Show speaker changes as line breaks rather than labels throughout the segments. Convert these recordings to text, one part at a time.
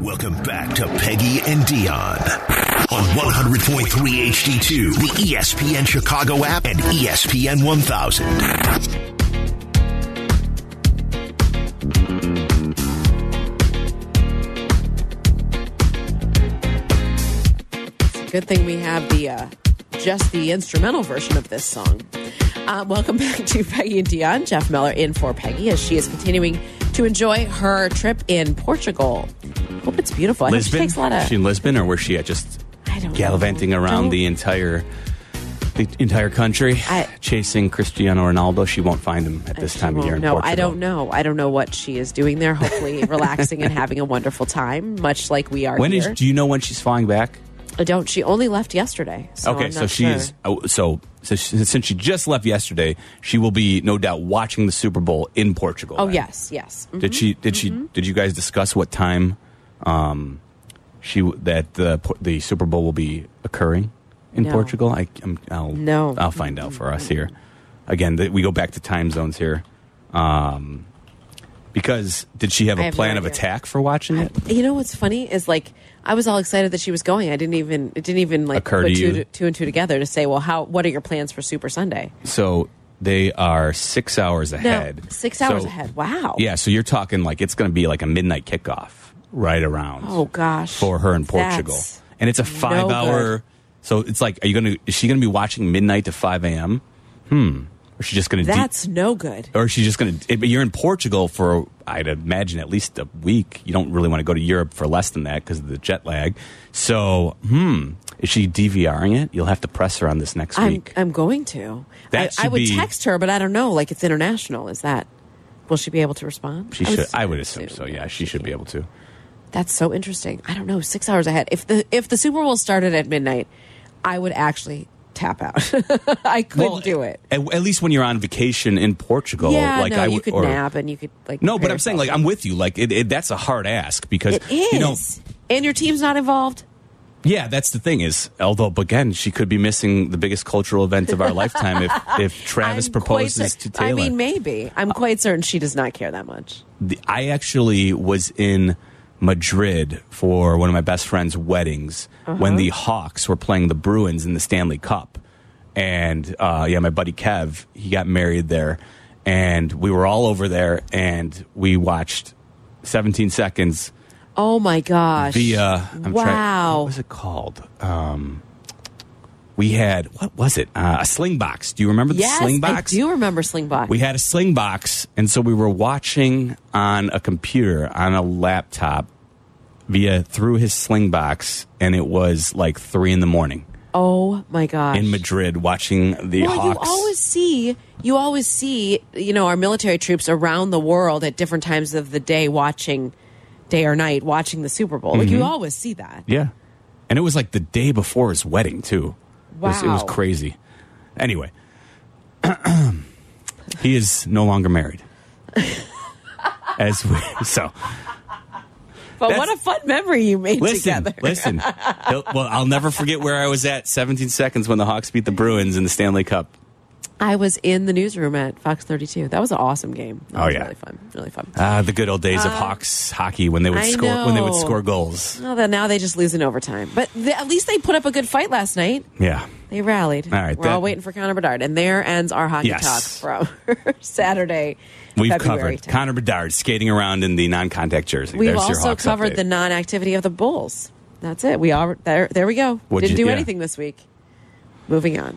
Welcome back to Peggy and Dion on 100.3 HD2, the E ESPN Chicago app, and E ESPN 1000.
Good thing we have the uh, just the instrumental version of this song. Uh, welcome back to Peggy and Dion. Jeff Miller in for Peggy as she is continuing to enjoy her trip in Portugal. Hope it's beautiful. I hope
Lisbon?
she takes a lot of.
Is she in Lisbon, or was she at just
I don't
gallivanting
know.
around
Don't-
the entire the entire country,
I- Uh,
chasing Cristiano Ronaldo? She won't find him at this
She
time of
won't
year. In
know.
Portugal.
I don't know. I don't know what she is doing there. Hopefully, relaxing and having a wonderful time, much like we are
When is?
here.
Do you know when she's flying back?
I don't. She only left yesterday. So
okay,
I'm
so
not
she
sure.
is. oh, So so she, since she just left yesterday, she will be no doubt watching the Super Bowl in Portugal.
Oh
then.
yes, yes. Mhm.
Did she? Did she? Did you guys discuss what time? Um, she w- that the Por- the Super Bowl will be occurring in
No.
Portugal. I, I'm, I'll
No.
I'll find out for us here. Again, th- we go back to time zones here. Um, because did she have
I
a
have no
plan of
idea.
attack for watching it?
You know what's funny is like I was all excited that she was going. I didn't even it didn't even like
Occur to
put two,
you.
two and two together to say, well, how what are your plans for Super Sunday?
So they are six hours
No,
ahead.
six hours
So-
ahead. Wow.
Yeah, so you're talking like it's going to be like a midnight kickoff right around.
Oh, gosh.
for her in Portugal,
That's
and it's a five hour.
good.
So it's like, are you going to? Is she going to be watching midnight to five a.m.? Hmm. Or is she just going to?
That's no good.
or is she just going to? But you're in Portugal for, I'd imagine, at least a week. You don't really want to go to Europe for less than that because of the jet lag. So, hmm, is she DVRing it? You'll have to press her on this next
I'm
week.
I'm going to.
That
I, I
should
would
be-
text her, but I don't know. Like it's international. Is that will she be able to respond?
she should. I would assume so.
assume,
Yeah, she should be able to.
That's so interesting. I don't know. Six hours ahead. If the if the Super Bowl started at midnight, I would actually tap out. I couldn't do it.
At, at least when you're on vacation in Portugal,
yeah,
like
no,
I
you
would.
could
or-
nap and you could like.
No, but
prepare
I'm saying
yourself.
like I'm with you. Like it, it, that's a hard ask because
It is.
you know
and your team's not involved.
yeah that's the thing is although again she could be missing the biggest cultural event of our lifetime if if Travis
I'm quite
proposes
cer-
to Taylor. Oh.
I mean, maybe. I'm quite certain she does not care that much.
The- I actually was in Madrid for one of my best friend's weddings
Uh-huh.
when the Hawks were playing the Bruins in the Stanley Cup. And uh, yeah, my buddy Kev, he got married there. And we were all over there and we watched 17 seconds
Oh my gosh.
via uh, I'm trying,
wow.
what was it called um we had what was it uh, a sling box do you remember the
yes,
sling box
I do remember Slingbox.
we had a sling box and so we were watching on a computer on a laptop via through his sling box and it was like three in the morning
oh my gosh.
in madrid watching the
well,
hawks
you always see you always see you know our military troops around the world at different times of the day watching day or night watching the Super Bowl. Like
Mm-hmm.
you always see that.
yeah and it was like the day before his wedding too it, was, it was
Wow.
crazy anyway he is no longer married as we, so
But
That's-
what a fun memory you made
Listen,
together.
listen. Well, I'll never forget where I was at 17 seconds when the Hawks beat the Bruins in the Stanley Cup.
I was in the newsroom at Fox 32. That was an awesome game. That
Oh,
was
yeah.
really fun. Really fun.
Ah, the good old days of Hawks hockey when they would
Uh, I
score when they would
know.
score goals.
Well, then now they just lose in overtime. But th at least they put up a good fight last night.
Yeah.
They rallied.
All right,
We're all
that-
waiting for Connor Bedard. And there ends our hockey
Yes.
talk from Saturday.
We've
February
covered
10th.
Connor Bedard skating around in the non-contact jersey.
We've
There's your
also
Hawks
covered
update.
the non activity of the Bulls. That's it. We all there there we go.
What'd
Didn't
you-
do
yeah.
anything this week. Moving on.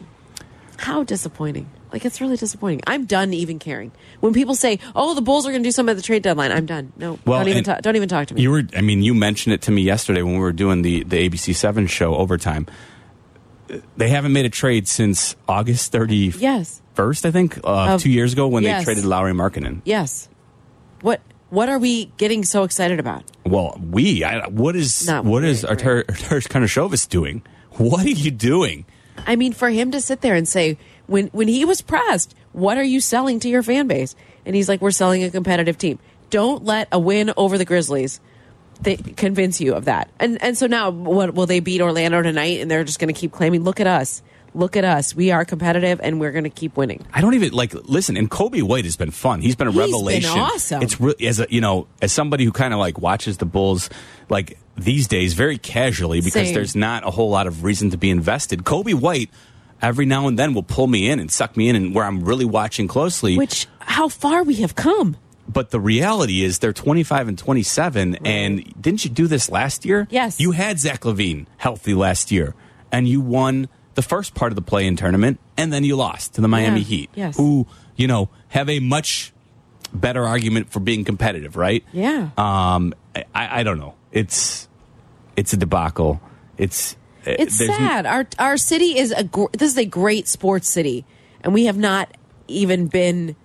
How disappointing. Like it's really disappointing. I'm done even caring. When people say, "Oh, the Bulls are going to do something at the trade deadline," I'm done. No,
Well,
don't even
and
ta- don't even talk to me.
You were, I mean, you mentioned it to me yesterday when we were doing the, the ABC 7 show overtime. They haven't made a trade since August 31st,
Yes.
I think, uh,
Of-
two years ago when
yes.
they traded Lowry Markinen.
Yes. What what are we getting so excited about?
Well, we. I, what is
Not
what
we,
is
right.
Artur Artur Konashovas doing? What are you doing?
I mean, for him to sit there and say when when he was pressed, what are you selling to your fan base? And he's like, we're selling a competitive team. Don't let a win over the Grizzlies th convince you of that. And and so now, what will they beat Orlando tonight? And they're just going to keep claiming, look at us, look at us. We are competitive and we're going to keep winning.
I don't even like listen. And Kobe White has been fun. He's been a
He's been
revelation.
awesome.
It's re- as a, you know as somebody who kind of like watches the Bulls like these days very casually because
Same.
there's not a whole lot of reason to be invested. Kobe White every now and then will pull me in and suck me in and where I'm really watching closely.
Which how far we have come.
but the reality is they're 25 and 27 and didn't you do this last year
Yes.
you had zach levine healthy last year and you won the first part of the play-in tournament and then you lost to the miami
Yeah.
heat
Yes.
who you know have a much better argument for being competitive right
Yeah.
um i, I don't know it's it's a debacle it's eh,
It's
there's n-
sad. our our city is a gr- this is a great sports city, and we have not even been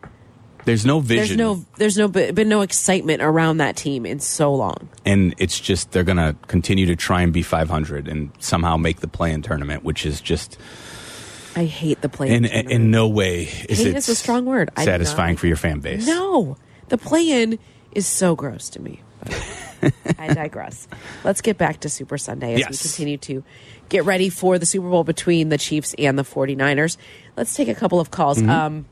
there's no vision
there's no there's no been no excitement around that team in so long.
and it's just they're going to continue to try and be 500 and somehow make the play-in tournament which is just
I hate the play.
in, in in no way is
Hate
it
is a strong word. I do not
satisfying
like
for your fan base.
No, the play-in is so gross to me. But I digress. Let's get back to Super Sunday as we
Yes.
continue to get ready for the Super Bowl between the Chiefs and the 49ers. Let's take a couple of calls.
Mm-hmm.
Um,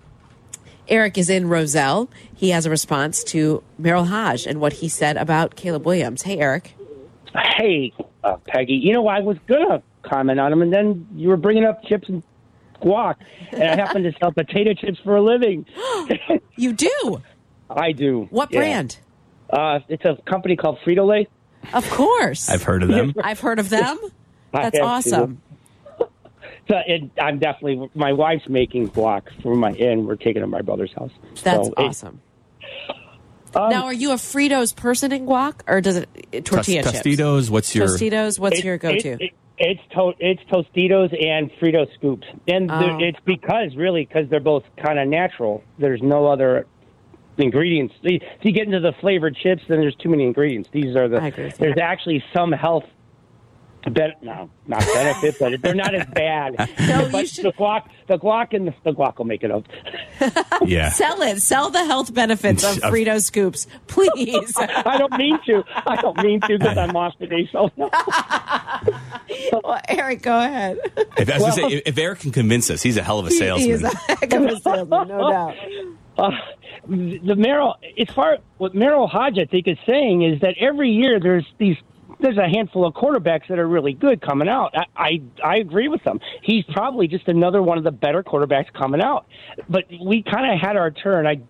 Eric is in Roselle. He has a response to Merrill Hodge and what he said about Caleb Williams. Hey, Eric.
Hey, uh, Peggy. You know, I was gonna comment on him, and then you were bringing up chips and guac, and I happen to sell potato chips for a living.
You do.
I do.
What
yeah.
brand?
Uh, it's a company called Frito Lay.
Of course.
I've heard of them.
I've heard of them.
I
That's
have,
awesome.
So it, I'm definitely my wife's making guac for my and we're taking it to my brother's house.
That's
So Um, it-
awesome. now, are you a Fritos person in guac, or does it eh,
Tos-
tortilla chips?
Tostitos, what's your
Tostitos. What's
it-
your go-to?
it- it- it's to, it's Tostitos and Frito scoops, and
Oh.
they're- it's because really because they're both kind of natural. There's no other ingredients. See, If you get into the flavored chips, then there's too many ingredients. These are the
I agree with you.
there's actually some health. Ben, no, not benefit, but they're not as bad.
No, you
but
should-
the guac, the guac, and the, the guac will make it up.
yeah.
Sell it. Sell the health benefits of
Of-
Frito scoops, please.
I don't mean to. I don't mean to because I'm off today. So no.
Well, Eric, go ahead.
If, I was gonna say, if, if Eric can convince us, he's a hell of a
He is
salesman.
a heck of a salesman, no doubt.
Uh, the Merrill, it's part what Merrill Hodge I think is saying is that every year there's these there's a handful of quarterbacks that are really good coming out. I I, I agree with them. He's probably just another one of the better quarterbacks coming out. But we kind of had our turn. I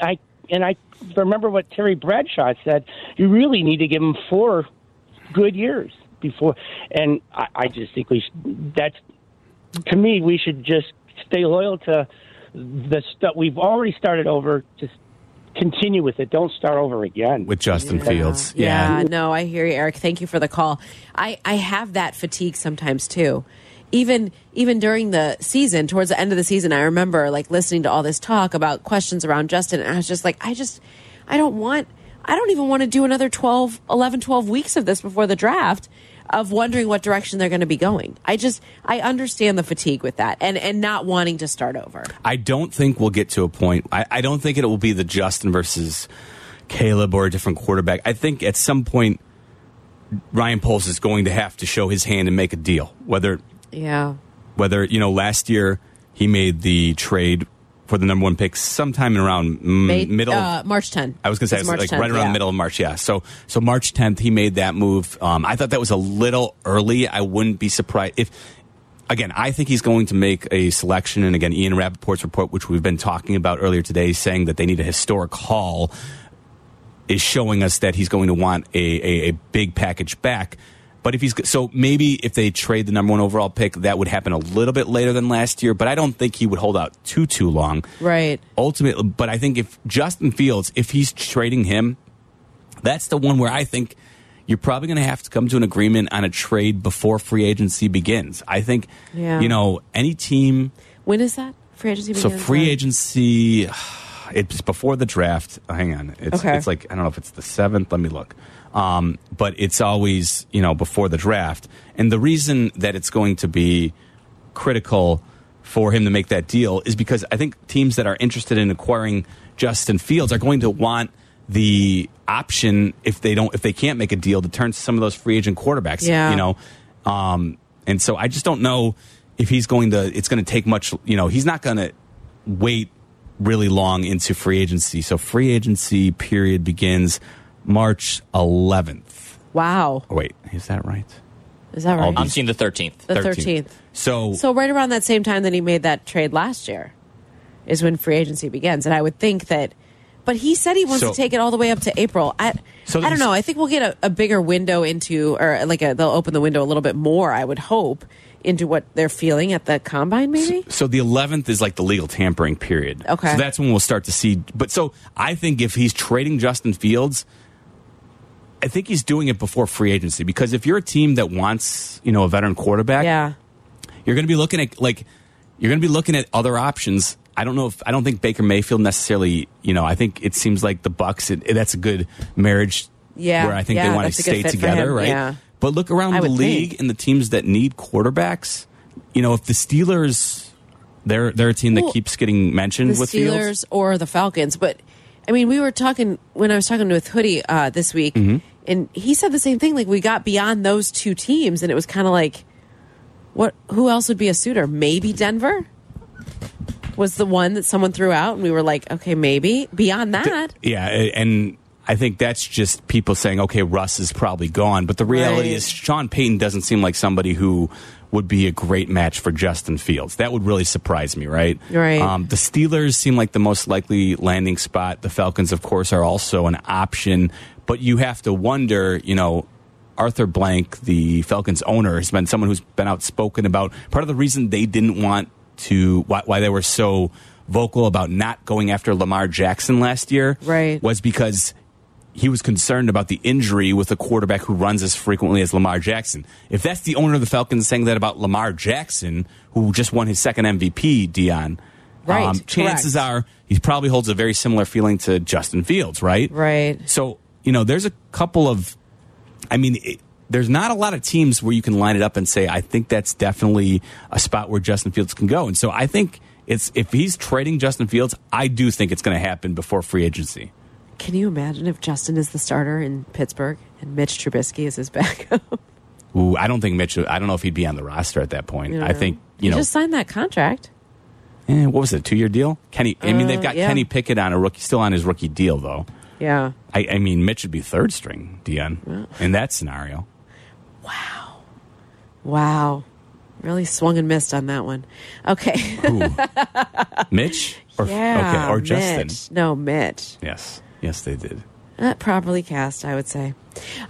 I and I remember what Terry Bradshaw said. You really need to give him four good years before. And I, I just think we should, that's to me, we should just stay loyal to the stuff we've already started over. Just continue with it. Don't start over again.
with Justin Fields.
Yeah, no, I hear you, Eric. Thank you for the call. I, I have that fatigue sometimes too. Even even during the season, towards the end of the season, I remember like listening to all this talk about questions around Justin and I was just like, I just I don't want I don't even want to do another 12, 11, 12 weeks of this before the draft of wondering what direction they're going to be going. I just I understand the fatigue with that and and not wanting to start over.
I don't think we'll get to a point. I, I don't think it will be the Justin versus Caleb or a different quarterback. I think at some point, Ryan Poles is going to have to show his hand and make a deal, whether
Yeah.
whether you know last year he made the trade for the number one pick sometime in around mm,
May-
middle of
uh, March 10.
I was going to say
It's
it was,
March
like
10th,
right around
yeah.
the middle of March. Yeah. So so March 10th he made that move. Um, I thought that was a little early. I wouldn't be surprised if. Again, I think he's going to make a selection. And again, Ian Rappaport's report, which we've been talking about earlier today, saying that they need a historic haul, is showing us that he's going to want a, a, a big package back. But if he's so maybe if they trade the number one overall pick, that would happen a little bit later than last year. But I don't think he would hold out too too long
Right.
ultimately but i think if justin fields if he's trading him that's the one where i think you're probably going to have to come to an agreement on a trade before free agency begins i think
Yeah.
you know any team
When is that? Free agency
so
begins,
free
right?
agency it's before the draft hang on it's,
Okay.
it's like i don't know if it's the seventh let me look um, but it's always you know before the draft and the reason that it's going to be critical for him to make that deal is because I think teams that are interested in acquiring Justin Fields are going to want the option if they don't if they can't make a deal to turn to some of those free agent quarterbacks.
Yeah.
You know, um, and so I just don't know if he's going to, it's going to take much. You know, he's not going to wait really long into free agency. So free agency period begins March 11th.
Wow.
Oh, wait, is that right?
Is that right?
I'll
I'm seeing the 13th.
Uh,
the 13th.
So,
So right around that same time that he made that trade last year is when free agency begins, and I would think that. But he said he wants
So-
to take it all the way up to April. I,
So
I don't
he's-
know. I think we'll get a, a bigger window into, or like a, they'll open the window a little bit more. I would hope into what they're feeling at the combine, maybe.
so the 11th is like the legal tampering period.
Okay.
So that's when we'll start to see. But so I think if he's trading Justin Fields, I think he's doing it before free agency because if you're a team that wants, you know, a veteran quarterback,
Yeah.
you're going to be looking at like you're going to be looking at other options. I don't know if I don't think Baker Mayfield necessarily. You know, I think it seems like the Bucks. It, that's a good marriage.
Yeah,
where I think
yeah,
they want
that's
to
a good
stay
fit for him,
together, right?
yeah.
But look around
I
the
would
league
think.
and the teams that need quarterbacks. You know, if the Steelers, they're they're a team that
Well,
keeps getting mentioned
the
with
Steelers
Fields.
or the Falcons. But I mean, we were talking when I was talking with Hoodie uh, this week,
Mm-hmm.
and he said the same thing. Like we got beyond those two teams, and it was kind of like, what? Who else would be a suitor? Maybe Denver was the one that someone threw out, and we were like, okay, maybe. Beyond that,
Yeah, a- and I think that's just people saying, okay, Russ is probably gone. But the reality
Right.
is, Sean Payton doesn't seem like somebody who would be a great match for Justin Fields. That would really surprise me, right? Um,
Right.
the Steelers seem like the most likely landing spot. The Falcons, of course, are also an option. But you have to wonder, you know. Arthur Blank, the Falcons owner, has been someone who's been outspoken about part of the reason they didn't want to, why, why they were so vocal about not going after Lamar Jackson last year
Right.
was because he was concerned about the injury with a quarterback who runs as frequently as Lamar Jackson. If that's the owner of the Falcons saying that about Lamar Jackson, who just won his second MVP, Dion,
Right,
um, chances
correct.
are he probably holds a very similar feeling to Justin Fields, right?
Right.
So, you know, there's a couple of, I mean, it, there's not a lot of teams where you can line it up and say, I think that's definitely a spot where Justin Fields can go. And so I think it's, if he's trading Justin Fields, I do think it's going to happen before free agency.
can you imagine if Justin is the starter in Pittsburgh and Mitch Trubisky is his backup?
Ooh, I don't think Mitch. I don't know if he'd be on the roster at that point.
You
I think
He
you know.
just signed that contract.
eh, what was it? Two year deal? Kenny. I mean, they've got
Uh, yeah.
Kenny Pickett on a rookie, still on his rookie deal though.
Yeah.
I, I mean, Mitch would be third string, Dion, in that scenario.
Wow. Really swung and missed on that one. Okay.
Ooh. Mitch or
Yeah,
okay or Justin?
Mitch. No, Mitch.
Yes, yes, they did.
Uh, properly cast, I would say.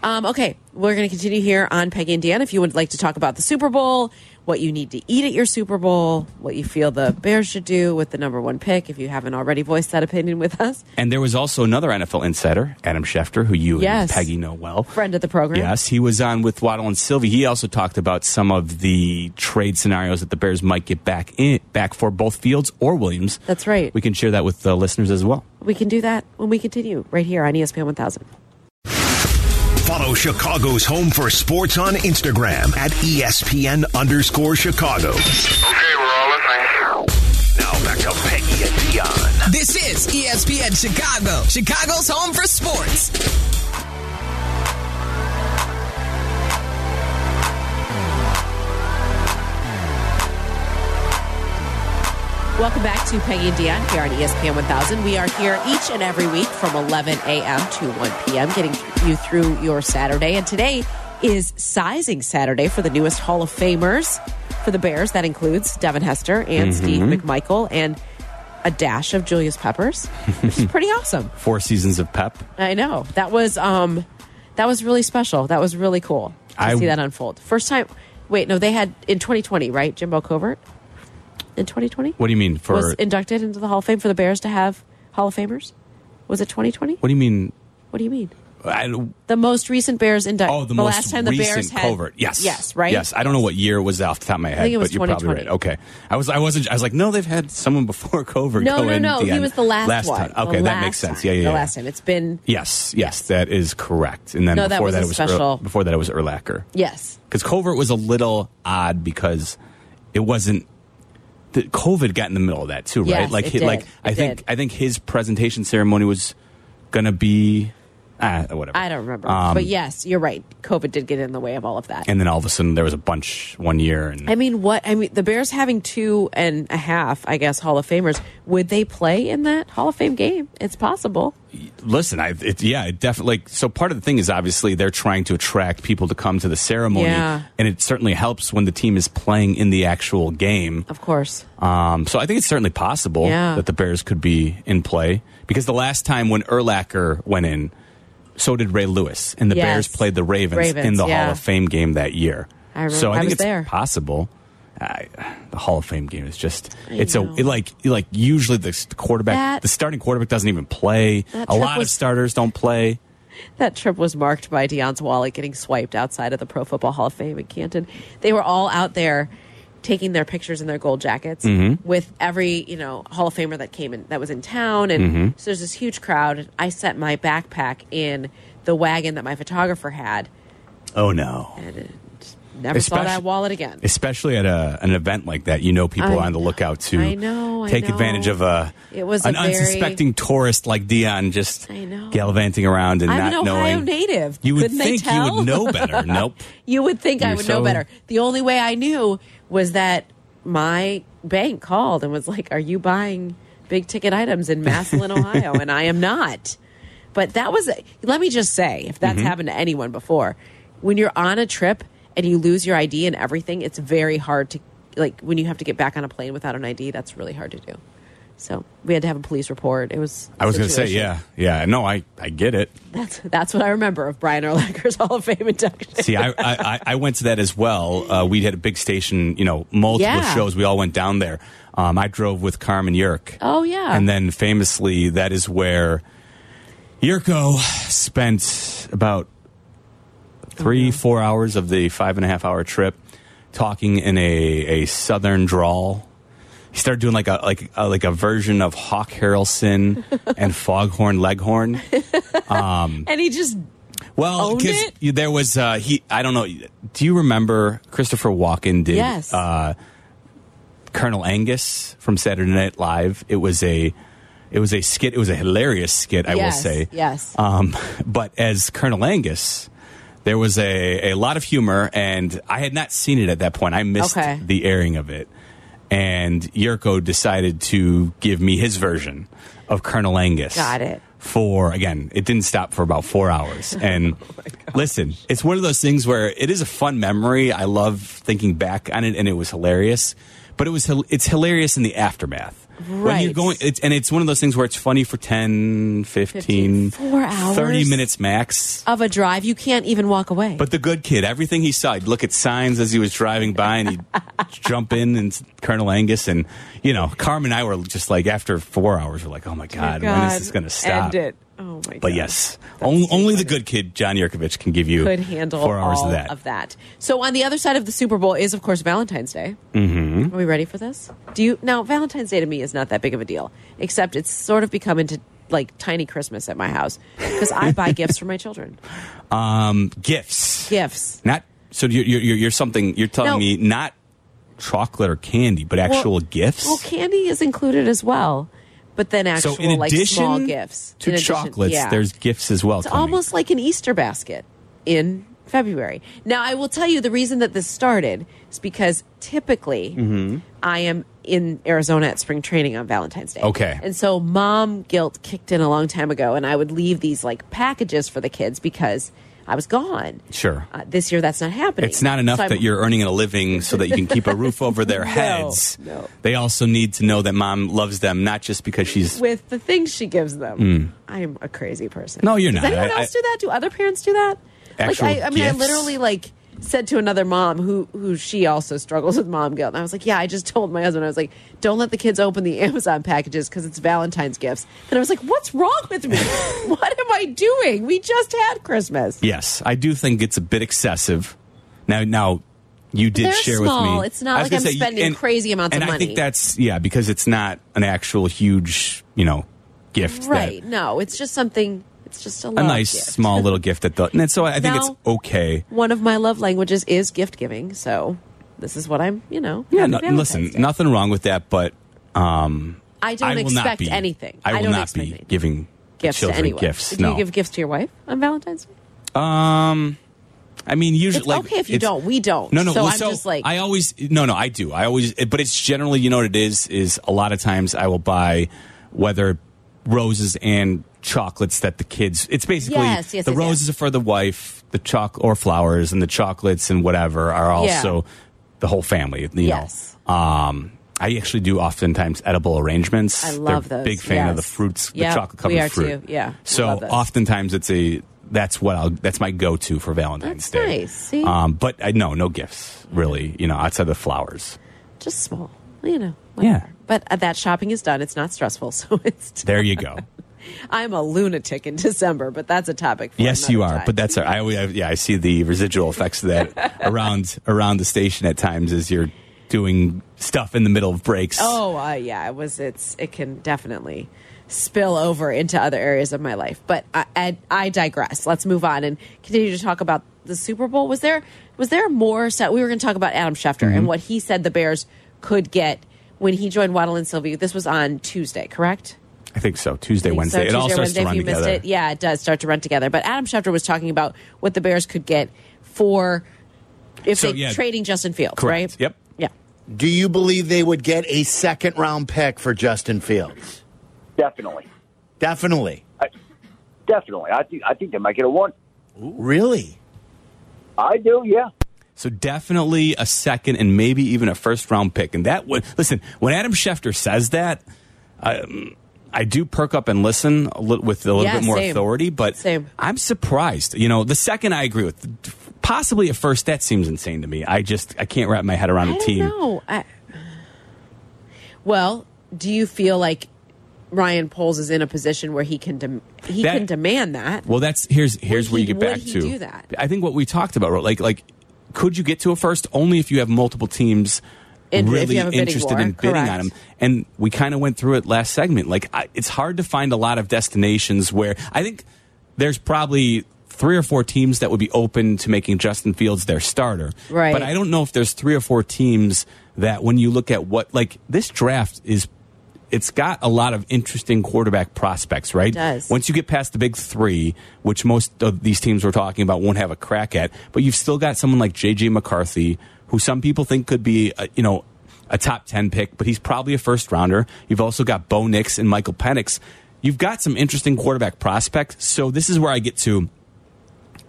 Um, okay, we're going to continue here on Peggy and Deanna. If you would like to talk about the Super Bowl, what you need to eat at your Super Bowl, what you feel the Bears should do with the number one pick, if you haven't already voiced that opinion with us,
And there was also another NFL insider, Adam Schefter, who you
Yes.
and Peggy know well.
friend of the program.
Yes, he was on with Waddle and Sylvie. He also talked about some of the trade scenarios that the Bears might get back in back for both Fields or Williams.
That's right.
We can share that with the listeners as well.
We can do that when we continue right here on E ESPN 1000.
Follow Chicago's home for sports on Instagram at E ESPN underscore Chicago.
Okay, we're all listening.
Now back to Peggy and Dion.
This is E ESPN Chicago, Chicago's home for sports.
Welcome back to Peggy and Dion here on E ESPN 1000. We are here each and every week from 11 a.m. to 1 p.m., getting you through your Saturday. And today is Sizing Saturday for the newest Hall of Famers for the Bears. That includes Devin Hester
Mm-hmm.
and Steve McMichael and a dash of Julius Peppers, which is pretty awesome.
Four seasons of Pep.
I know that was um that was really special. That was really cool to
I-
see that unfold. First time. Wait, no, they had in 2020, right? Jimbo Covert in 2020
What do you mean for?
was inducted into the Hall of Fame for the Bears to have Hall of Famers. Was it 2020?
what do you mean?
What do you mean?
I, don't-
The most recent Bears induct.
oh, the,
the
most
last time the
recent
Bears had
covert. Yes.
Yes. Right.
Yes. I don't know what year it was off the top of my head,
think it was
but you're probably
2020.
right. Okay. I was. I wasn't. I was like, no, they've had someone before covert.
No,
go
no,
in
no.
at the
He
end.
was the last, one.
time.
The
Okay, that
last
makes sense.
time.
Yeah, yeah,
The
yeah.
last time. It's been
Yes, yes, that is correct. And then
No, that
before
was
that,
a
it was
special-
Ur- before that it was Erlacher.
yes.
because covert was a little odd because it wasn't the COVID got in the middle of that too, right?
Yes,
like
it
he-
did.
like
It
I think
did.
I think his presentation ceremony was gonna be Ah, whatever.
I don't remember.
Um,
but yes, you're right. COVID did get in the way of all of that.
And then all of a sudden there was a bunch one year, and
I mean, what? I mean, the Bears having two and a half, I guess, Hall of Famers. Would they play in that Hall of Fame game? It's possible.
listen, I it, yeah, it definitely. Like, so part of the thing is obviously they're trying to attract people to come to the ceremony,
Yeah.
and it certainly helps when the team is playing in the actual game.
Of course.
Um, so I think it's certainly possible
Yeah.
that the Bears could be in play because the last time when Erlacher went in, so did Ray Lewis, and the
Yes.
Bears played the Ravens,
Ravens,
in the
yeah.
Hall of Fame game that year.
I remember-
so I
I
think
was
it's
there.
possible. I, the Hall of Fame game is just it's
know.
a it like it like usually the s- quarterback
That-
the starting quarterback doesn't even play.
That
A
trip
lot
was-
of starters don't play.
That trip was marked by Dion's wallet getting swiped outside of the Pro Football Hall of Fame in Canton. They were all out there taking their pictures in their gold jackets
Mm-hmm.
with every, you know, Hall of Famer that came in that was in town and
Mm-hmm.
so there's this huge crowd and I set my backpack in the wagon that my photographer had
Oh no.
and it just never saw that
Especially-
wallet again.
Especially at a, an event like that, you know people
I-
are on the lookout to
I know, I
take
know.
advantage of a
It was
an
a very-
unsuspecting tourist like Dion just
I know.
gallivanting around and
I'm
not
an Ohio
knowing.
native.
You would
Couldn't they
think you
tell?
would know better. nope.
You would think I
You're
would
so-
know better. The only way I knew was that my bank called and was like, "Are you buying big ticket items in Massillon, Ohio?" And I am not. But that was. Let me just say, if
Mm-hmm.
that's happened to anyone before, when you're on a trip and you lose your ID and everything, it's very hard to like when you have to get back on a plane without an ID. That's really hard to do. So we had to have a police report. It was.
I was going to say,
situation.
yeah, yeah. No, I, I get it.
That's that's what I remember of Brian Urlacher's Hall of Fame induction.
See, I, I, I- I went to that as well. Uh, we had a big station, you know, multiple
Yeah.
shows. We all went down there. Um, I drove with Carmen Yerk.
Oh, yeah.
And then famously, that is where Yurko spent about three, four hours of the five and a half hour trip talking in a, a southern drawl. He started doing like a like a, like a version of Hawk Harrelson and Foghorn Leghorn.
and he just
Well,
Owned
because
it?
there was uh, he. I don't know. Do you remember Christopher Walken did
Yes.
uh, Colonel Angus from Saturday Night Live? It was a it was a skit. It was a hilarious skit, I
yes,
will say.
yes.
Um, but as Colonel Angus, there was a, a lot of humor, and I had not seen it at that point. I missed
Okay.
the airing of it. And Yurko decided to give me his version of Colonel Angus.
Got it. Oh
For, again, it didn't stop for about four hours. And listen, it's one of those things where it is a fun memory. I love thinking back on it, and it was hilarious. But it was hil- it's hilarious in the aftermath. When you're
Right.
going, it's, and it's one of those things where it's funny for 10, 15,
Four hours?
30 minutes max.
of a drive, you can't even walk away.
But the good kid, everything he saw, he'd look at signs as he was driving by and he'd jump in and Colonel Angus and, you know, Carmen and I were just like, after four hours, we're like, oh my God, when is this going to
End
stop?
it. Oh my god.
But yes, on, only the good kid, John Yurkovich, can give you
could handle
four hours
all
of that.
So on the other side of the Super Bowl is, of course, Valentine's Day. Mm-hmm. Are we ready for this? Do you now? Valentine's Day to me is not that big of a deal, except it's sort of become into like tiny Christmas at my house because I buy gifts for my children.
Um, gifts.
Gifts.
Not, so you're, you're, you're- you're something, you're telling
No.
me not chocolate or candy, but actual
Well-
gifts?
Well, candy is included as well, but then actual
so in
like
addition
small gifts
to
In addition-
chocolates,
yeah.
there's gifts as well.
It's
coming.
almost like an Easter basket in February. Now, I will tell you the reason that this started is because typically
Mm-hmm.
I am in Arizona at spring training on Valentine's Day.
Okay.
And so mom guilt kicked in a long time ago, and I would leave these like packages for the kids because I was gone.
Sure.
Uh, this year, that's not happening.
It's not enough
So I'm-
that you're earning a living so that you can keep a roof over their heads.
no.
They also need to know that mom loves them, not just because she's.
with the things she gives them. I'm a crazy person.
Hmm. No, you're
Does
not.
anyone
I-
else
I-
do that? Do other parents do that?
Actual
like I, I mean, I
gifts?
literally like said to another mom who who she also struggles with mom guilt, and I was like, yeah, I just told my husband, I was like, don't let the kids open the Amazon packages because it's Valentine's gifts. And I was like, what's wrong with me? what am I doing? We just had Christmas.
Yes, I do think it's a bit excessive. Now, now. You did
They're
share
small.
with me.
It's not
I was
like
gonna
I'm spending crazy amounts
and
of
I
money.
think that's yeah, because it's not an actual huge, you know, gift. that-
Right? no, it's just something. It's just a,
a
love
nice
gift.
small little gift at the. And so I
No.
think it's okay.
One of my love languages is gift giving, so this is what I'm. You know,
Yeah,
happy
no,
Valentine's
listen,
Day.
nothing wrong with that, but um,
I don't
will
expect
not be,
anything.
I will
don't
not
expect
be
anything.
giving
gifts to
children
anyone.
gifts,
Did you
no.
give gifts to your wife on Valentine's Day?
Um, I mean, usually
It's
like,
okay if you
it's-
don't. We don't.
No, no.
So
well,
I'm just like-
I always no, no. I do. I always, but it's generally you know what it is is a lot of times I will buy whether roses and chocolates that the kids. It's basically
Yes, yes,
the
yes, yes.
roses are for the wife, the choc or flowers and the chocolates and whatever are
Yeah.
also the whole family. You
Yes.
Know. Um. I actually do oftentimes edible arrangements.
I love
They're
those,
Big fan of the
yes.
fruits, the
Yep,
chocolate covered
we are
fruit.
too, yeah, we
So
love those.
oftentimes it's a that's what I'll that's my go to for Valentine's
That's
Day.
nice. See?
Um, but I, no, no gifts really. You know, outside the flowers.
Just small, you know. Whatever.
Yeah.
But uh, that shopping is done. It's not stressful, so it's.
There you go.
I'm a lunatic in December, but that's a topic. For
yes, you
another
are.
time.
But that's I always I, yeah I see the residual effects of that around around the station at times as you're doing stuff in the middle of breaks.
Oh, uh, yeah, it was. It's it can definitely spill over into other areas of my life. But I, I, I digress. Let's move on and continue to talk about the Super Bowl. Was there was there more? So we were going to talk about Adam Schefter
Mm-hmm.
and what he said the Bears could get when he joined Waddle and Sylvie. This was on Tuesday, correct?
I think so. Tuesday,
think
Wednesday.
So,
it all
Tuesday,
starts
Wednesday,
to run
if you missed
together.
It, yeah, it does start to run together. But Adam Schefter was talking about what the Bears could get for if
So,
they
yeah.
trading Justin Fields,
Correct.
right?
Yep.
Yeah.
Do you believe they would get a second round pick for Justin Fields?
Definitely,
Definitely.
definitely. I think I think they might get a one.
Really?
I do, yeah.
So definitely a second and maybe even a first round pick. And that would listen when Adam Schefter says that, I, I do perk up and listen a little, with a little
Yeah,
bit more
same.
authority. But
Same.
I'm surprised. You know, the second I agree with, possibly a first that seems insane to me. I just I can't wrap my head around
I
a
don't
team.
know. I, well, do you feel like Ryan Poles is in a position where he can dem- he
That-
can demand that?
Well, that's here's here's
Would
where
he-
you get
would
back
he
to.
do that?
I think what we talked about, right, like like could you get to a first only if you have multiple teams
And if you
really
have a bidding
interested
war,
in bidding on
correct.
him? And we kind of went through it last segment. Like I, it's hard to find a lot of destinations where I think there's probably three or four teams that would be open to making Justin Fields their starter.
Right.
But I don't know if there's three or four teams that when you look at what like this draft is it's got a lot of interesting quarterback prospects, right?
does.
Once you get past the big three, which most of these teams we're talking about won't have a crack at, but you've still got someone like JJ McCarthy, who some people think could be, a, you know, a top ten pick, but he's probably a first rounder. You've also got Bo Nix and Michael Penix. You've got some interesting quarterback prospects. So this is where I get to.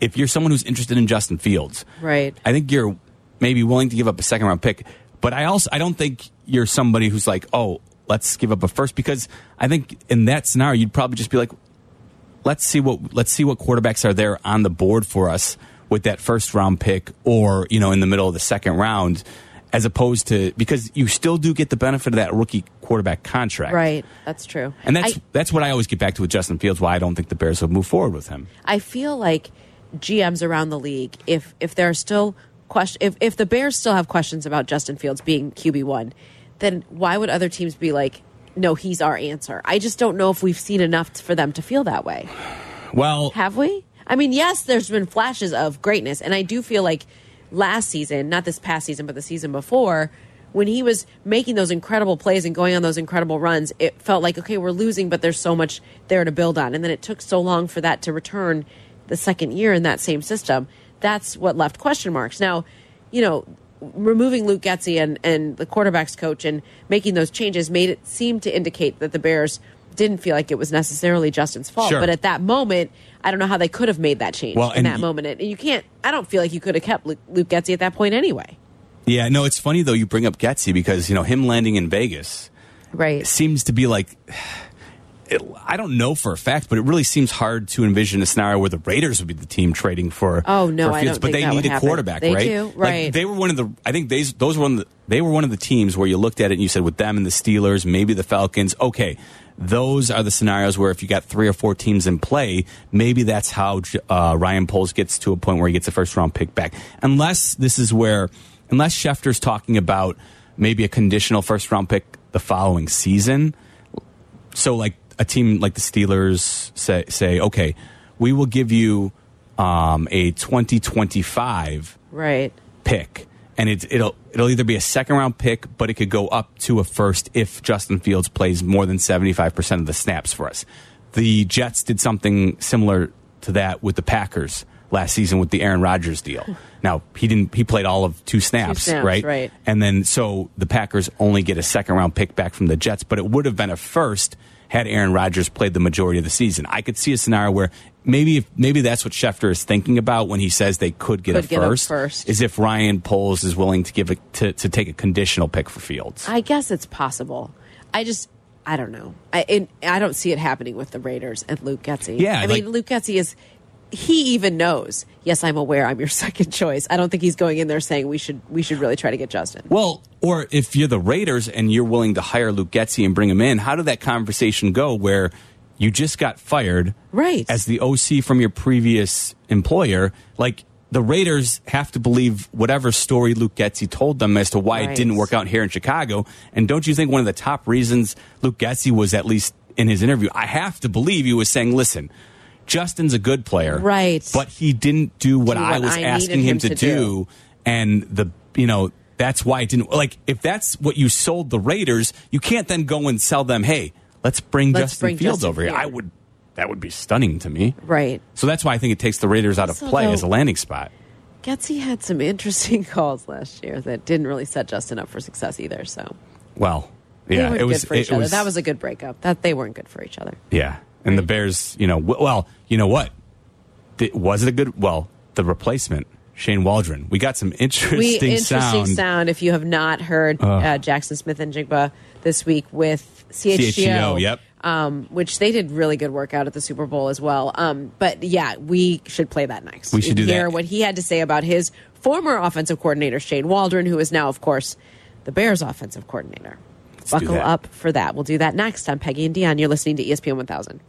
If you're someone who's interested in Justin Fields,
Right.
I think you're maybe willing to give up a second round pick, but I also I don't think you're somebody who's like, oh, let's give up a first because I think in that scenario you'd probably just be like, let's see what let's see what quarterbacks are there on the board for us with that first round pick or you know in the middle of the second round, as opposed to because you still do get the benefit of that rookie quarterback contract,
Right, that's true.
And that's
I-
that's what I always get back to with Justin Fields. Why I don't think the Bears will move forward with him.
I feel like GMs around the league, if if there are still question, if if the Bears still have questions about Justin Fields being QB one, then why would other teams be like, no, he's our answer? I just don't know if we've seen enough t- for them to feel that way.
Well,
Have we? I mean, yes, there's been flashes of greatness, and I do feel like last season, not this past season, but the season before. When he was making those incredible plays and going on those incredible runs, it felt like, okay, we're losing, but there's so much there to build on. And then it took so long for that to return the second year in that same system. That's what left question marks. Now, you know, removing Luke Getzey and, and the quarterbacks coach and making those changes made it seem to indicate that the Bears didn't feel like it was necessarily Justin's fault.
Sure.
But at that moment, I don't know how they could have made that change
Well,
in
and
that
y-
moment. And you can't. I don't feel like you could have kept Luke, Luke Getzey at that point anyway.
yeah, no, it's funny though you bring up Getzey because you know him landing in Vegas.
Right.
seems to be like it, I don't know for a fact, but it really seems hard to envision a scenario where the Raiders would be the team trading for.
Oh, no,
for
I
Fields,
don't
but
think
they
that
need
would
a
happen.
quarterback,
They
right?
do,
Like,
right.
they were one of the. I think these those were one of the, they were one of the teams where you looked at it and you said, with them and the Steelers, maybe the Falcons. Okay, those are the scenarios where if you got three or four teams in play, maybe that's how uh, Ryan Poles gets to a point where he gets a first round pick back, unless this is where unless Schefter's talking about maybe a conditional first round pick the following season so like a team like the Steelers say say okay, we will give you um, a 2025
Right.
pick, and it's it'll it'll either be a second round pick, but it could go up to a first if Justin Fields plays more than 75 percent of the snaps for us. The Jets did something similar to that with the Packers last season with the Aaron Rodgers deal. Now he didn't. He played all of two snaps,
snaps,
right?
right.
And then so the Packers only get a second round pick back from the Jets, but it would have been a first had Aaron Rodgers played the majority of the season. I could see a scenario where maybe if, maybe that's what Schefter is thinking about when he says they could get,
Could
a,
get a
first,
first.
Is if Ryan Poles is willing to give a, to to take a conditional pick for Fields.
I guess it's possible. I just, I don't know. I it, I don't see it happening with the Raiders and Luke Getzey.
Yeah,
I mean
like-
Luke Getzey is. He even knows. Yes, I'm aware. I'm your second choice. I don't think he's going in there saying we should we should really try to get Justin.
Well, or if you're the Raiders and you're willing to hire Luke Getzey and bring him in, how did that conversation go where you just got fired
Right.
as the OC from your previous employer? Like the Raiders have to believe whatever story Luke Getzey told them as to why
Right.
it didn't work out here in Chicago. And don't you think one of the top reasons Luke Getzey was at least in his interview, I have to believe he was saying, listen, Justin's a good player.
Right.
But he didn't do what
Do
I
what
was
I needed
asking him,
him
to,
to
do
do.
and the you know that's why it didn't like if that's what you sold the Raiders, you can't then go and sell them. Hey, let's bring
Let's
Justin
bring
Fields
Justin
over here.
Fields.
I would that would be stunning to me.
Right.
So that's why I think it takes the Raiders out of
So
play
though-
as a landing spot.
Getzey had some interesting calls last year that didn't really set Justin up for success either. So
Well,
they
yeah,
weren't
it was
good for
it
each other. that was a good breakup. That they weren't good for each other.
yeah, and the Bears, you know, w- well, you know what? Th- was it a good? Well, the replacement Shane Waldron. We got some interesting,
we interesting
sound.
sound. If you have not heard uh, Jackson Smith and Jigba this week with CHGO,
CHGO, E yep.
E um, which they did really good work out at the Super Bowl as well. Um, but yeah, we should play that next.
We should do
hear
that.
what he had to say about his former offensive coordinator Shane Waldron, who is now, of course, the Bears' offensive coordinator.
do
Buckle
that.
up for that. We'll do that next on Peggy and Dion. You're listening to E ESPN 1000.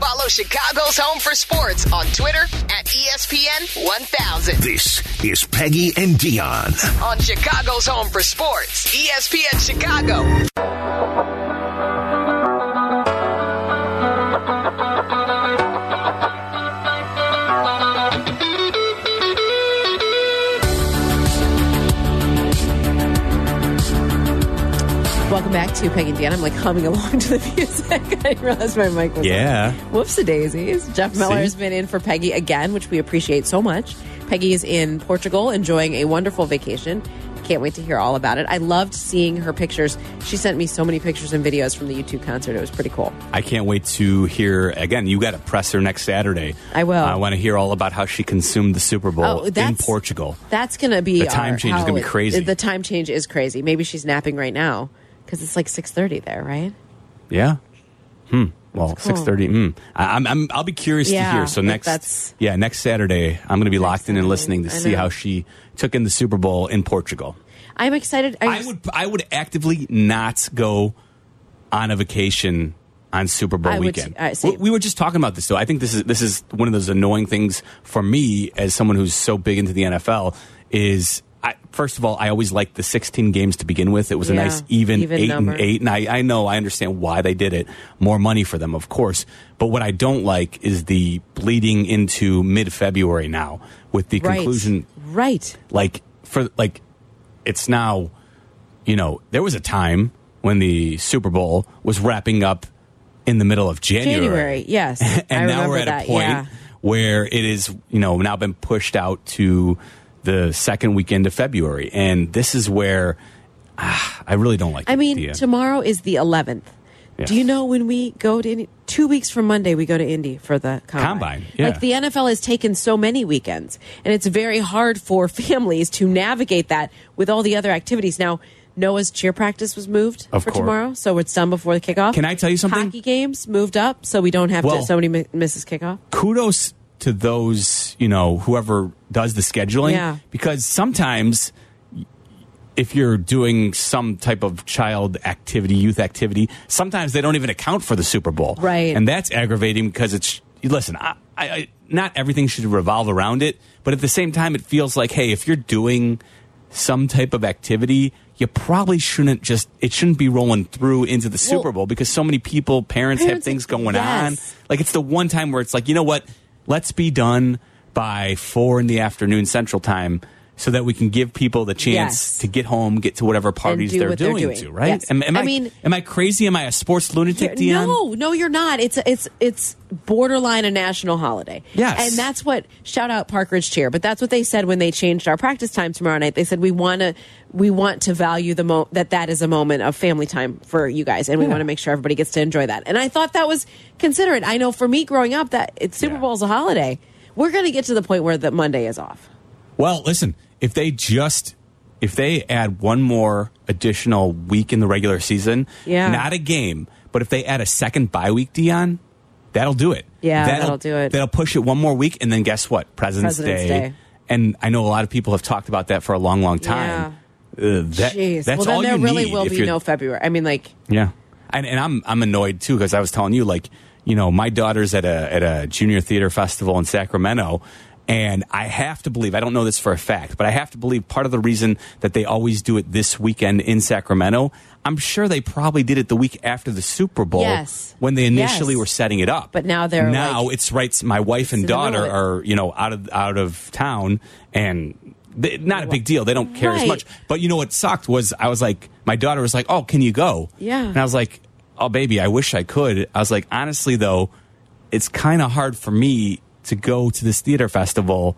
Follow Chicago's Home for Sports on Twitter at E ESPN 1000.
This is Peggy and Dion.
On Chicago's Home for Sports, E ESPN Chicago.
Welcome back to Peggy and Dion. I'm like humming along to the music. I didn't realize my mic was on.
Yeah,
Whoops a daisies. Jeff Miller
See?
has been in for Peggy again, which we appreciate so much. Peggy is in Portugal enjoying a wonderful vacation. Can't wait to hear all about it. I loved seeing her pictures. She sent me so many pictures and videos from the YouTube concert. It was pretty cool.
I can't wait to hear again. You got a presser next Saturday.
I will. Oh,
I want to hear all about how she consumed the Super Bowl in Portugal.
That's going to be
The time
our-
change is
how
gonna be
it-
crazy.
The time change is crazy. Maybe she's napping right now because it's like six thirty there, right?
Yeah. Hmm. Well,
That's cool.
six thirty. Mm. I- I'm, I'm. I'll be curious
Yeah,
to hear. So
like
next,
that's-
yeah, next Saturday, I'm going to be locked in
Saturday.
and listening to
I
see
know.
how she took in the Super Bowl in Portugal.
I'm excited.
I would. I would actively not go on a vacation on Super Bowl
I would-
weekend.
I see.
we, we were just talking about this, though. I think this is this is one of those annoying things for me as someone who's so big into the NFL. Is I, first of all, I always liked the 16 games to begin with. It was a
Yeah,
nice even,
even
eight
number.
and eight, and I, I know I understand why they did it. More money for them, of course. But what I don't like is the bleeding into mid February now with the
right.
conclusion
Right.
like for like it's now you know there was a time when the super bowl was wrapping up in the middle of january,
January. Yes. I
and now
remember
we're at
that.
a point
Yeah.
where it is you know now been pushed out to the second weekend of february and this is where ah, i really don't like
I
the
mean,
idea.
tomorrow is the 11th.
Yeah.
Do you know when we go to Indy? Two weeks from Monday, we go to Indy for the combine.
Combine, yeah.
Like the NFL has taken so many weekends, and it's very hard for families to navigate that with all the other activities. Now, Noah's cheer practice was moved
Of
for
course.
tomorrow, so it's done before the kickoff.
Can I tell you something?
Hockey games moved up, so we don't have
Well-
to. Somebody mi- misses kickoff.
kudos to those you know whoever does the scheduling
Yeah.
because sometimes if you're doing some type of child activity youth activity sometimes they don't even account for the super bowl
Right.
and that's aggravating because it's listen i, I, I not everything should revolve around it but at the same time it feels like hey if you're doing some type of activity you probably shouldn't just it shouldn't be rolling through into the super
Well-
bowl because so many people parents,
Parents-
have things going on
yes.
like it's the one time where it's like, you know what? Let's be done by four in the afternoon Central Time, so that we can give people the chance
Yes.
to get home, get to whatever parties
do
they're,
what they're
doing
doing.
to, right?
Yes.
Am, am
I
I,
mean-
am I crazy? Am I a sports lunatic, Dion?
No, no, you're not. It's it's it's borderline a national holiday.
Yes.
and that's what shout out Park Ridge Cheer. But that's what they said when they changed our practice time tomorrow night. They said we want to we want to value the mo that that is a moment of family time for you guys, and we want to make sure everybody gets to enjoy that. And I thought that was considerate. I know for me growing up that it's Super
Yeah.
Bowl's a holiday. We're going to get to the point where the Monday is off.
Well, listen, if they just if they add one more additional week in the regular season,
Yeah.
not a game, but if they add a second bye week, Dion, that'll do it.
Yeah, that'll do it.
That'll push it one more week, and then guess what? President's,
President's
Day.
Day.
And I know a lot of people have talked about that for a long, long time. Uh, that,
Jeez.
That's
well, then
all
there
you
really
need
will
if
be
you're-
no February. I mean, like.
yeah, and and I'm I'm annoyed too because I was telling you like you know my daughter's at a at a junior theater festival in Sacramento. And I have to believe, I don't know this for a fact, but I have to believe part of the reason that they always do it this weekend in Sacramento, I'm sure they probably did it the week after the Super Bowl
Yes.
when they initially
Yes.
were setting it up.
But now they're
Now
like-
it's right my wife and
in the middle
daughter
of it.
are, you know, out of out of town and they, not a big deal. They don't care as
Right.
much. But you know what sucked was I was like, my daughter was like, "Oh, can you go?"
Yeah.
And I was like, "Oh, baby, I wish I could." I was like, honestly though, it's kind of hard for me to go to this theater festival,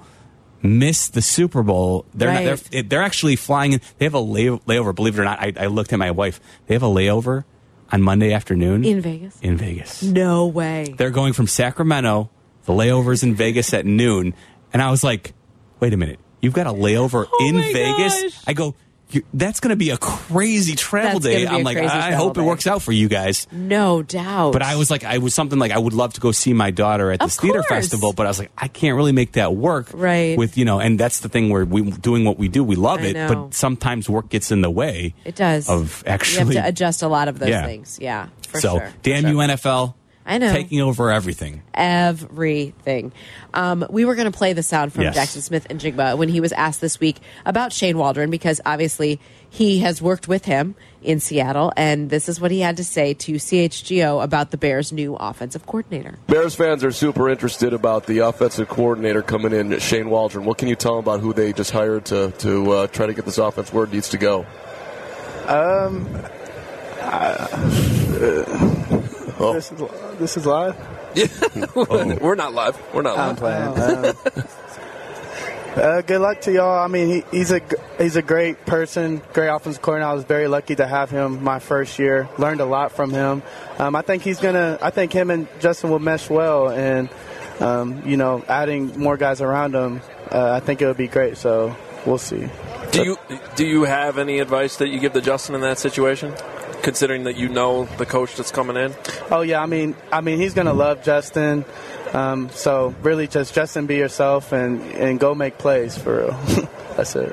miss the Super Bowl. They're not,
Right.
they're they're actually flying in. They have a lay, layover. Believe it or not, I, I looked at my wife. They have a layover on Monday afternoon
In Vegas?
In Vegas,
No way.
they're going from Sacramento. The layovers in Vegas at noon, and I was like, "Wait a minute, you've got a layover
Oh
in
my
Vegas?"
gosh.
I go, "You- "That's going to be a crazy travel
That's
day."
gonna be
I'm
a
like,
crazy
"I
travel
hope it
day."
works out for you guys."
No doubt.
But I was like, I was something like, I would love to go see my daughter at
Of
this theater
course.
festival, but I was like, I can't really make that work,
Right.
With you know, and that's the thing where we doing what we do, we love
I
it,
know.
but sometimes work gets in the way.
It does.
of
You
actually.
have to adjust a lot of those
Yeah.
things. Yeah. For
so
sure.
damn
For
you,
sure.
NFL!
I know.
taking over everything.
everything. Um, we were going to play the sound from
Yes.
Jackson Smith and Jigba when he was asked this week about Shane Waldron because obviously he has worked with him in Seattle, and this is what he had to say to CHGO about the Bears' new offensive coordinator.
Bears fans are super interested about the offensive coordinator coming in, Shane Waldron. What can you tell them about who they just hired to to uh, try to get this offense where it needs to go?
Um,
Uh,
This is this is live.
We're not live. We're not
Um,
live.
Uh, good luck to y'all. I mean, he, he's a g- he's a great person, great offensive coordinator. I was very lucky to have him my first year. Learned a lot from him. Um, I think he's gonna. I think him and Justin will mesh well, and um, you know, adding more guys around him, uh, I think it would be great. So we'll see.
Do you do you have any advice that you give to Justin in that situation, considering that you know the coach that's coming in?
Oh yeah, I mean, I mean, he's gonna love Justin. Um, so really, just Justin, be yourself and and go make plays for real. That's it.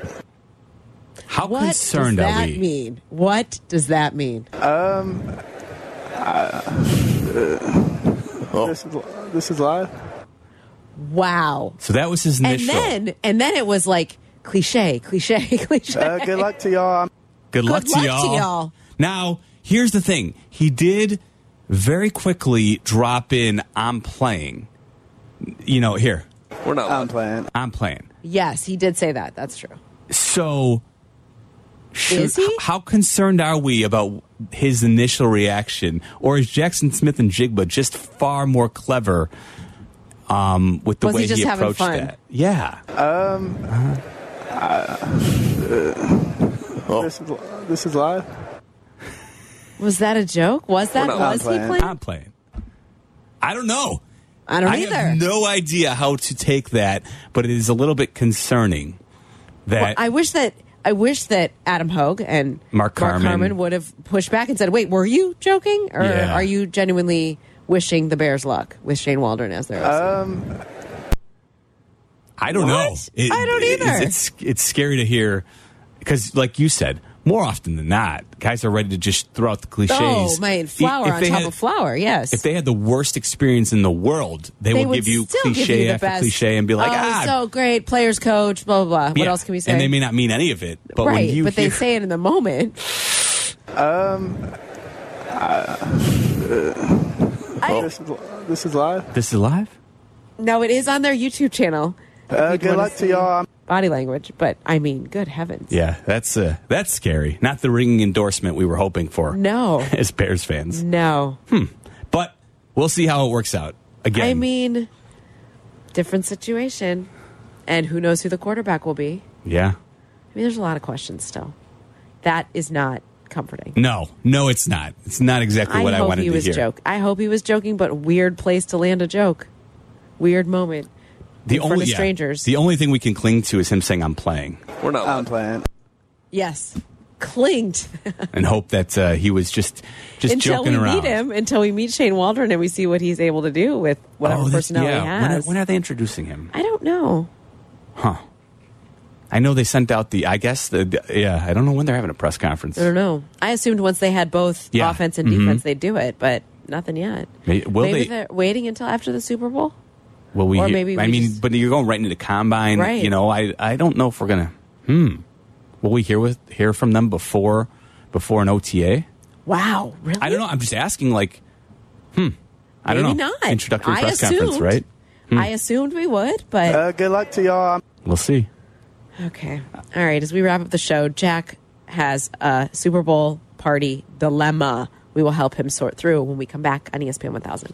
How
What
concerned
does that
are we?
mean? What does that mean?
This is this is live.
Wow.
So that was his
And
initial.
then, and then it was like cliche, cliche, cliche.
Uh, good luck to y'all.
Good
Good luck
luck, to,
to
y'all.
y'all.
Now, here's the thing. He did very quickly drop in I'm playing. You know, here.
We're not
I'm
live.
playing.
I'm playing.
yes, he did say that. That's true.
So should-
Is he?
h- how concerned are we about his initial reaction or is Jackson Smith and Jigba just far more clever um, with the
Was he
way
just having
approached
fun?
that? Yeah.
This is this is live.
Was that a joke? Was that
We're not
was he
playing.
playing?
I'm playing. I don't know.
I don't
Um, I
either.
have no idea how to take that, but it is a little bit concerning
Well,
that
I wish that I wish that Adam Hogue and
Mark Carmen.
would have pushed back and said, "Wait, were you joking, or
Yeah.
are you genuinely wishing the Bears luck with Shane Waldron as
Oh.
their?" OC?"
I, don't know.
What? I don't either.
It's, it's it's scary to hear because, like you said, more often than not, guys are ready to just throw out the cliches.
oh man, flower
If
on
they
top
had-
of flower. Yes.
If they had the worst experience in the world, they,
They
would give you
still
cliche
the
after
best.
cliche and be like,
oh,
ah,
so great, players coach, blah blah blah. What
yeah."
else can we say?
And they may not mean any of it, but
right,
when you
but they
hear-
say it in the moment.
This is this is live.
this is live.
No, it is on their YouTube channel.
Uh,
you'd
good
wanna
luck
see.
to y'all.
body language, but I mean, good heavens.
Yeah, that's uh, that's scary. Not the ringing endorsement we were hoping for.
No.
as Bears fans.
No.
Hmm. But we'll see how it works out. Again,
I mean, different situation. And who knows who the quarterback will be?
yeah.
I mean, there's a lot of questions still. That is not comforting.
No, no, it's not. It's not exactly what
I
I,
hope
wanted
he
to
was
hear.
joke. I hope he was joking, but weird place to land a joke. Weird moment.
The
in front
only
of
yeah.
strangers.
The only thing we can cling to is him saying, "I'm playing,"
We're not.
Um,
I'm playing.
Yes, clinged
and hope that uh, he was just just
until
joking
we
around.
meet him, until we meet Shane Waldron, and we see what he's able to do with whatever
Oh, this-
personality
yeah.
he
When are-
has.
when are they introducing him?
I don't know.
Huh. I know they sent out the. I guess the. Yeah, I don't know when they're having a press conference.
I don't know. I assumed once they had both
Yeah.
offense and
Mhm.
defense, they'd do it, but nothing yet.
May- will
maybe
they-
are waiting until after the Super Bowl.
Will we?
Or
hear-
maybe
I
we
mean,
just-
but you're going right into the combine.
Right.
You know, I I don't know if we're gonna. Hmm. Will we hear with hear from them before before an OTA?
Wow, really?
I don't know. I'm just asking. Like, hmm. I don't
Maybe
know.
not.
Introductory
I
press conference,
assumed.
right?
I assumed we would, but
Uh, good luck to y'all.
We'll see.
okay. All right, as we wrap up the show, Jack has a Super Bowl party dilemma. We will help him sort through when we come back on E ESPN 1000.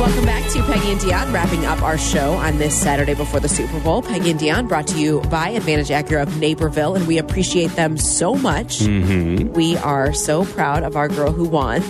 Welcome back to Peggy and Dion, wrapping up our show on this Saturday before the Super Bowl. Peggy and Dion brought to you by Advantage Acura of Naperville, and we appreciate them so much.
Mm-hmm.
We are so proud of our girl who won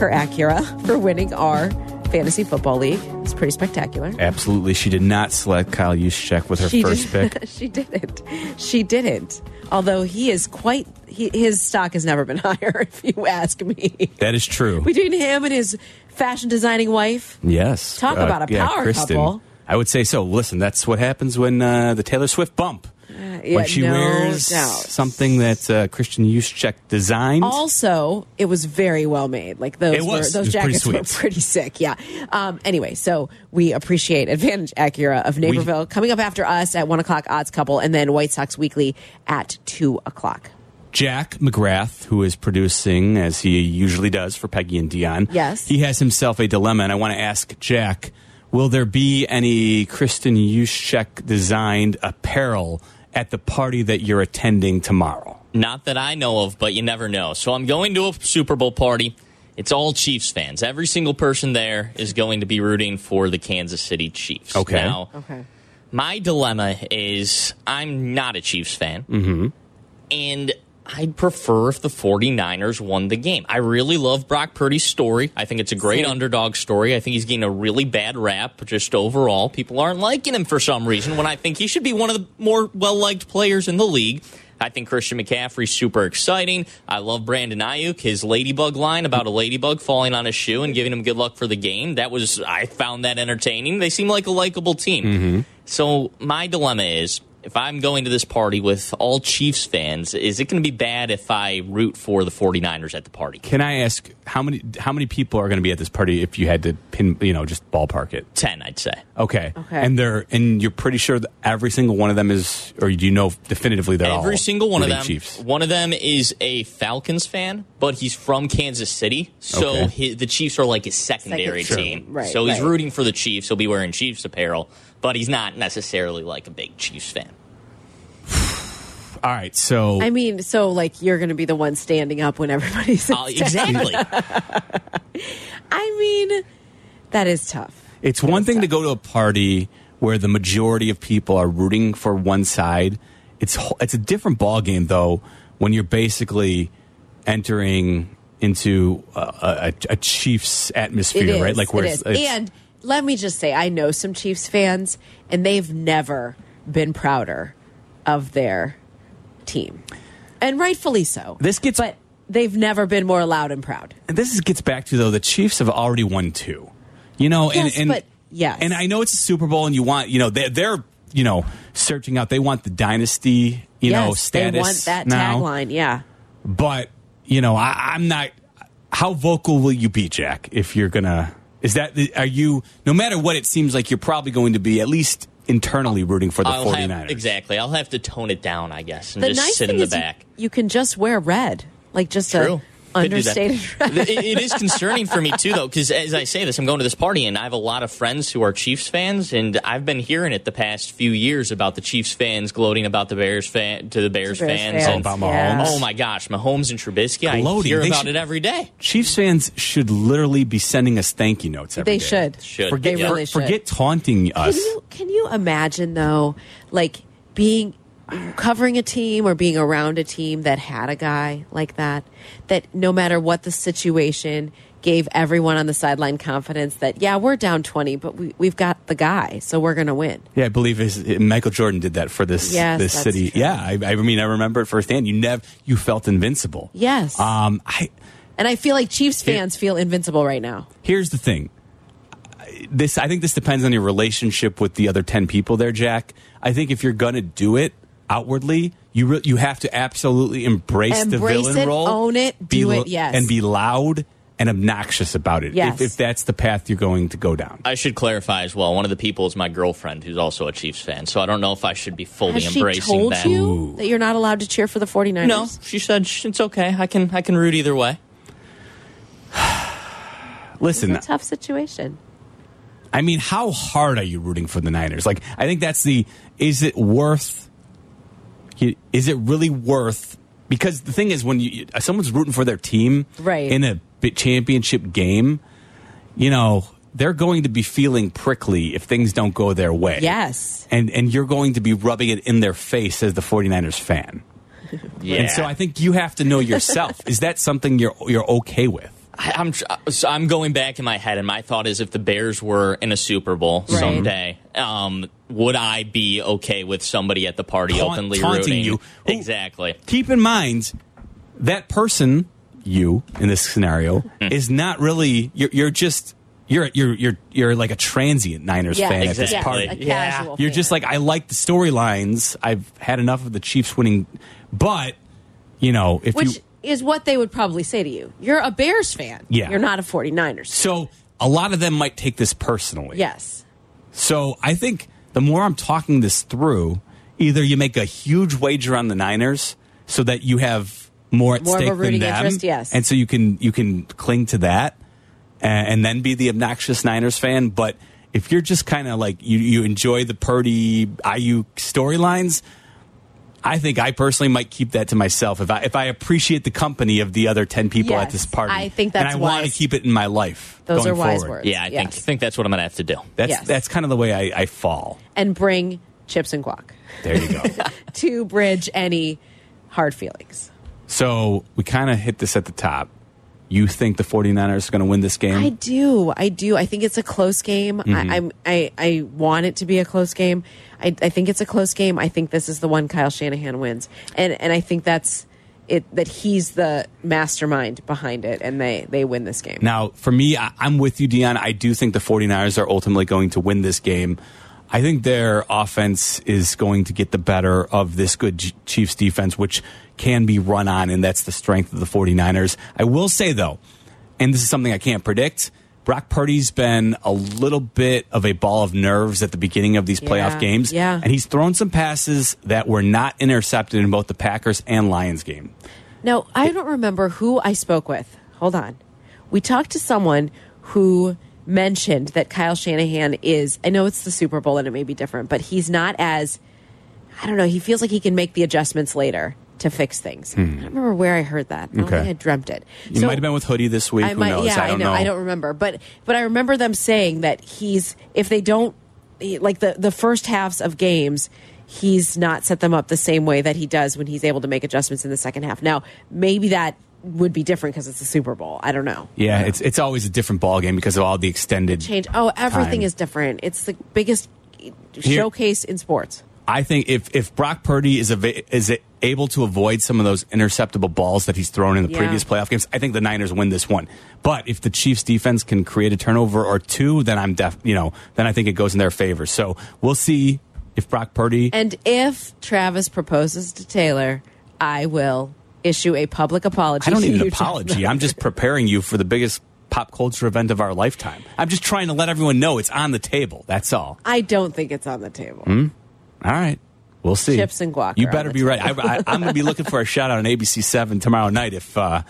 her Acura for winning our fantasy football league. It's pretty spectacular.
Absolutely, she did not select Kyle Juszczyk with her first
did,
pick.
she didn't. She didn't. Although he is quite, he, his stock has never been higher, if you ask me.
That is true.
Between him and his fashion designing wife,
Yes. Uh,
Talk about a power couple.
I would say so. Listen, that's what happens when uh, the Taylor Swift bump.
Uh, yeah,
when she
no
wears
doubt.
something that uh, Christian Juszczyk designed.
Also, it was very well made. Like those,
It
were,
was.
those
It was pretty
jackets were
sweet.
pretty sick. Yeah. Um, anyway, so we appreciate Advantage Acura of Naperville coming up after us at one o'clock. Odds Couple, and then White Sox Weekly at two o'clock.
Jack McGrath, who is producing as he usually does for Peggy and Dion.
Yes.
He has himself a dilemma, and I want to ask Jack Will there be any Kristen Juszczyk designed apparel at the party that you're attending tomorrow?
Not that I know of, but you never know. So I'm going to a Super Bowl party. It's all Chiefs fans. Every single person there is going to be rooting for the Kansas City Chiefs.
Okay.
Now,
okay.
my dilemma is I'm not a Chiefs fan,
hmm.
and I'd prefer if the 49ers won the game. I really love Brock Purdy's story. I think it's a great
Same.
underdog story. I think he's getting a really bad rap just overall. People aren't liking him for some reason when I think he should be one of the more well liked players in the league. I think Christian McCaffrey's super exciting. I love Brandon Ayuk, his ladybug line about a ladybug falling on his shoe and giving him good luck for the game. That was, I found that entertaining. They seem like a likable team. So my dilemma is if I'm going to this party with all Chiefs fans, is it going to be bad if I root for the 49ers at the party?
Can I ask how many how many people are going to be at this party if you had to pin you know just ballpark it?
10, I'd say.
Okay.
Okay.
And they're and you're pretty sure that every single one of them is or do you know definitively they're all
Every single one of
rooting
them.
Chiefs.
One of them is a Falcons fan, but he's from Kansas City, so
Okay.
he- the Chiefs are like his secondary
Second-
team.
Sure. Right,
so he's
right.
rooting for the Chiefs. He'll be wearing Chiefs apparel, but he's not necessarily like a big Chiefs fan.
All right. So
I mean, so like you're going to be the one standing up when
Oh,
everybody's
Uh, exactly.
I mean, that is tough.
It's one thing to go to a party where the majority of people are rooting for one side. It's ho- it's a different ball game though when you're basically entering into a, a, a Chiefs atmosphere,
It is,
right? Like where
it
it's,
is.
it's-
and let me just say, I know some Chiefs fans, and they've never been prouder of their team, and rightfully so. This
gets,
but they've never been more loud and proud.
and this is, gets back to though the Chiefs have already won two, you know,
Yes,
and and
but- yes.
and I know it's a Super Bowl, and you want you know they're, they're you know searching out they want the dynasty you know
Yes,
status
they want that
now.
tagline. Yeah,
but you know I, I'm not. How vocal will you be, Jack? If you're gonna Is that are you? No matter what, it seems like you're probably going to be at least internally rooting for the
I'll have-
49ers.
exactly. I'll have to tone it down, I guess, and
The
just
nice
sit
thing
in the
is you-
back.
You, can just wear red, like just
True.
a
Could do that.
understated red.
It- it is concerning for me too, though, because as I say this, I'm going to this party, and I have a lot of friends who are Chiefs fans, and I've been hearing it the past few years about the Chiefs fans gloating about the Bears fan to the Bears,
Bears
fans,
fans,
and
Oh, about yeah. Mahomes.
Oh my gosh, Mahomes and Trubisky, I
Gloating.
hear
They
about
should-
it every day.
Chiefs fans should literally be sending us thank you notes. every
They
day.
should.
Should.
Forget,
They really
for-
should.
forget taunting
Can
us.
you can you imagine though, like being covering a team or being around a team that had a guy like that, that no matter what the situation gave everyone on the sideline confidence that yeah we're down twenty but we we've got the guy so we're gonna win.
Yeah, I believe his, Michael Jordan did that for this
Yes,
this
that's
city.
true.
Yeah, I, I mean, I remember it firsthand. You never you felt invincible.
Yes.
Um, I
and I feel like Chiefs fans feel invincible right now.
here's the thing. I- This I think this depends on your relationship with the other ten people there, Jack. I think if you're gonna do it outwardly, you re- you have to absolutely embrace, the
Embrace
villain
it,
role,
own it, do
lo-
it, yes.
and be loud and obnoxious about it.
Yes.
If, if that's the path you're going to go down.
I should clarify as well. One of the people is my girlfriend, who's also a Chiefs fan, so I don't know if I should be fully
Has she
embracing
told
that.
you that you're not allowed to cheer for the 49ers?
No, she said "Sh- it's okay. I can I can root either way.
Listen,
It's a tough situation.
I mean, how hard are you rooting for the Niners? Like, I think that's the is it worth? Is it really worth? Because the thing is, when you someone's rooting for their team,
Right.
in a bi- championship game, you know they're going to be feeling prickly if things don't go their way.
Yes.
and and you're going to be rubbing it in their face as the 49ers fan.
Yeah.
And so I think you have to know yourself. is that something you're you're okay with?
I- I'm tr- uh, so I'm going back in my head, and my thought is if the Bears were in a Super Bowl
Mm-hmm.
Right.
someday, um, would I be okay with somebody at the party
Taunt-
openly
taunting
rooting?
you. Who-
Exactly.
keep in mind that person you in this scenario is not really you're, you're just you're you're you're you're like a transient Niners
Yeah,
fan at
exactly.
this party.
Yeah, a
casual
you're
fan.
just like I like the storylines. I've had enough of the Chiefs winning, but you know if
Which
you
is what they would probably say to you. You're a Bears fan.
Yeah.
You're not a 49ers.
so a lot of them might take this personally.
Yes.
So I think the more I'm talking this through, either you make a huge wager on the Niners so that you have more at
More of a
stake
rooting
than them,
interest, yes.
and so you can you can cling to that, a- and then be the obnoxious Niners fan. But if you're just kind of like you you enjoy the Purdy IU storylines. I think I personally might keep that to myself if I if I appreciate the company of the other ten people at
Yes,
this party.
I think that's
and I want to
wise.
keep it in my life.
Those
going
are wise
forward.
words.
Yeah, I think
Yes.
think that's what I'm gonna have to do.
That's
Yes.
that's kind of the way I, I fall.
And bring chips and guac
There you go.
to bridge any hard feelings.
So we kind of hit this at the top. You think the 49ers are going to win this game?
I do. I do. I think it's a close game. I, I'm, I, I want it to be a close game. I, I think it's a close game. I think this is the one Kyle Shanahan wins. And, and I think that's it, that he's the mastermind behind it and they, they win this game.
now, for me, I, I'm with you, Dion. I do think the 49ers are ultimately going to win this game. I think their offense is going to get the better of this good Ch- Chiefs defense, which can be run on, and that's the strength of the 49ers. I will say, though, and this is something I can't predict. Brock Purdy's been a little bit of a ball of nerves at the beginning of these
Yeah,
playoff games.
yeah.
And he's thrown some passes that were not intercepted in both the Packers and Lions game.
Now, I don't remember who I spoke with. Hold on. We talked to someone who mentioned that Kyle Shanahan is, I know it's the Super Bowl and it may be different, but he's not as, I don't know, he feels like he can make the adjustments later to fix things. I don't remember where I heard that. I don't
Hmm. Okay.
think I dreamt it.
You
So-
might have been with Hoodie this week.
I
Who
might,
knows?
yeah,
I don't
know.
know.
I don't remember, but but I remember them saying that he's if they don't he- like the the first halves of games, he's not set them up the same way that he does when he's able to make adjustments in the second half. Now maybe that would be different because it's the Super Bowl. I don't know.
yeah, it's it's always a different ball game because of all the extended
Change. Oh, everything
Time.
is different. It's the biggest showcase in sports.
I think if if Brock Purdy is a, is able to avoid some of those interceptable balls that he's thrown in the
Yeah.
previous playoff games, I think the Niners win this one. But if the Chiefs defense can create a turnover or two, then I'm def you know then I think it goes in their favor. So we'll see if Brock Purdy.
And if Travis proposes to Taylor, I will issue a public apology.
I don't
to
need an
you, Travis.
apology. I'm just preparing you for the biggest pop culture event of our lifetime. I'm just trying to let everyone know it's on the table. That's all.
I don't think it's on the table.
Hmm? All right. We'll see.
Chips and guac
You
are on
better
the
be right. I, I, I'm going to be looking for a shout out on ABC 7 tomorrow night if uh,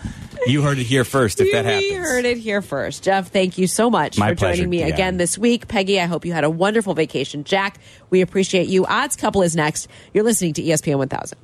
you heard it here first, if that happens.
We heard it here first. Jeff, thank you so much
My
for
pleasure,
joining me
Deanne.
again this week. Peggy, I hope you had a wonderful vacation. Jack, we appreciate you. Odds Couple is next. You're listening to E ESPN 1000.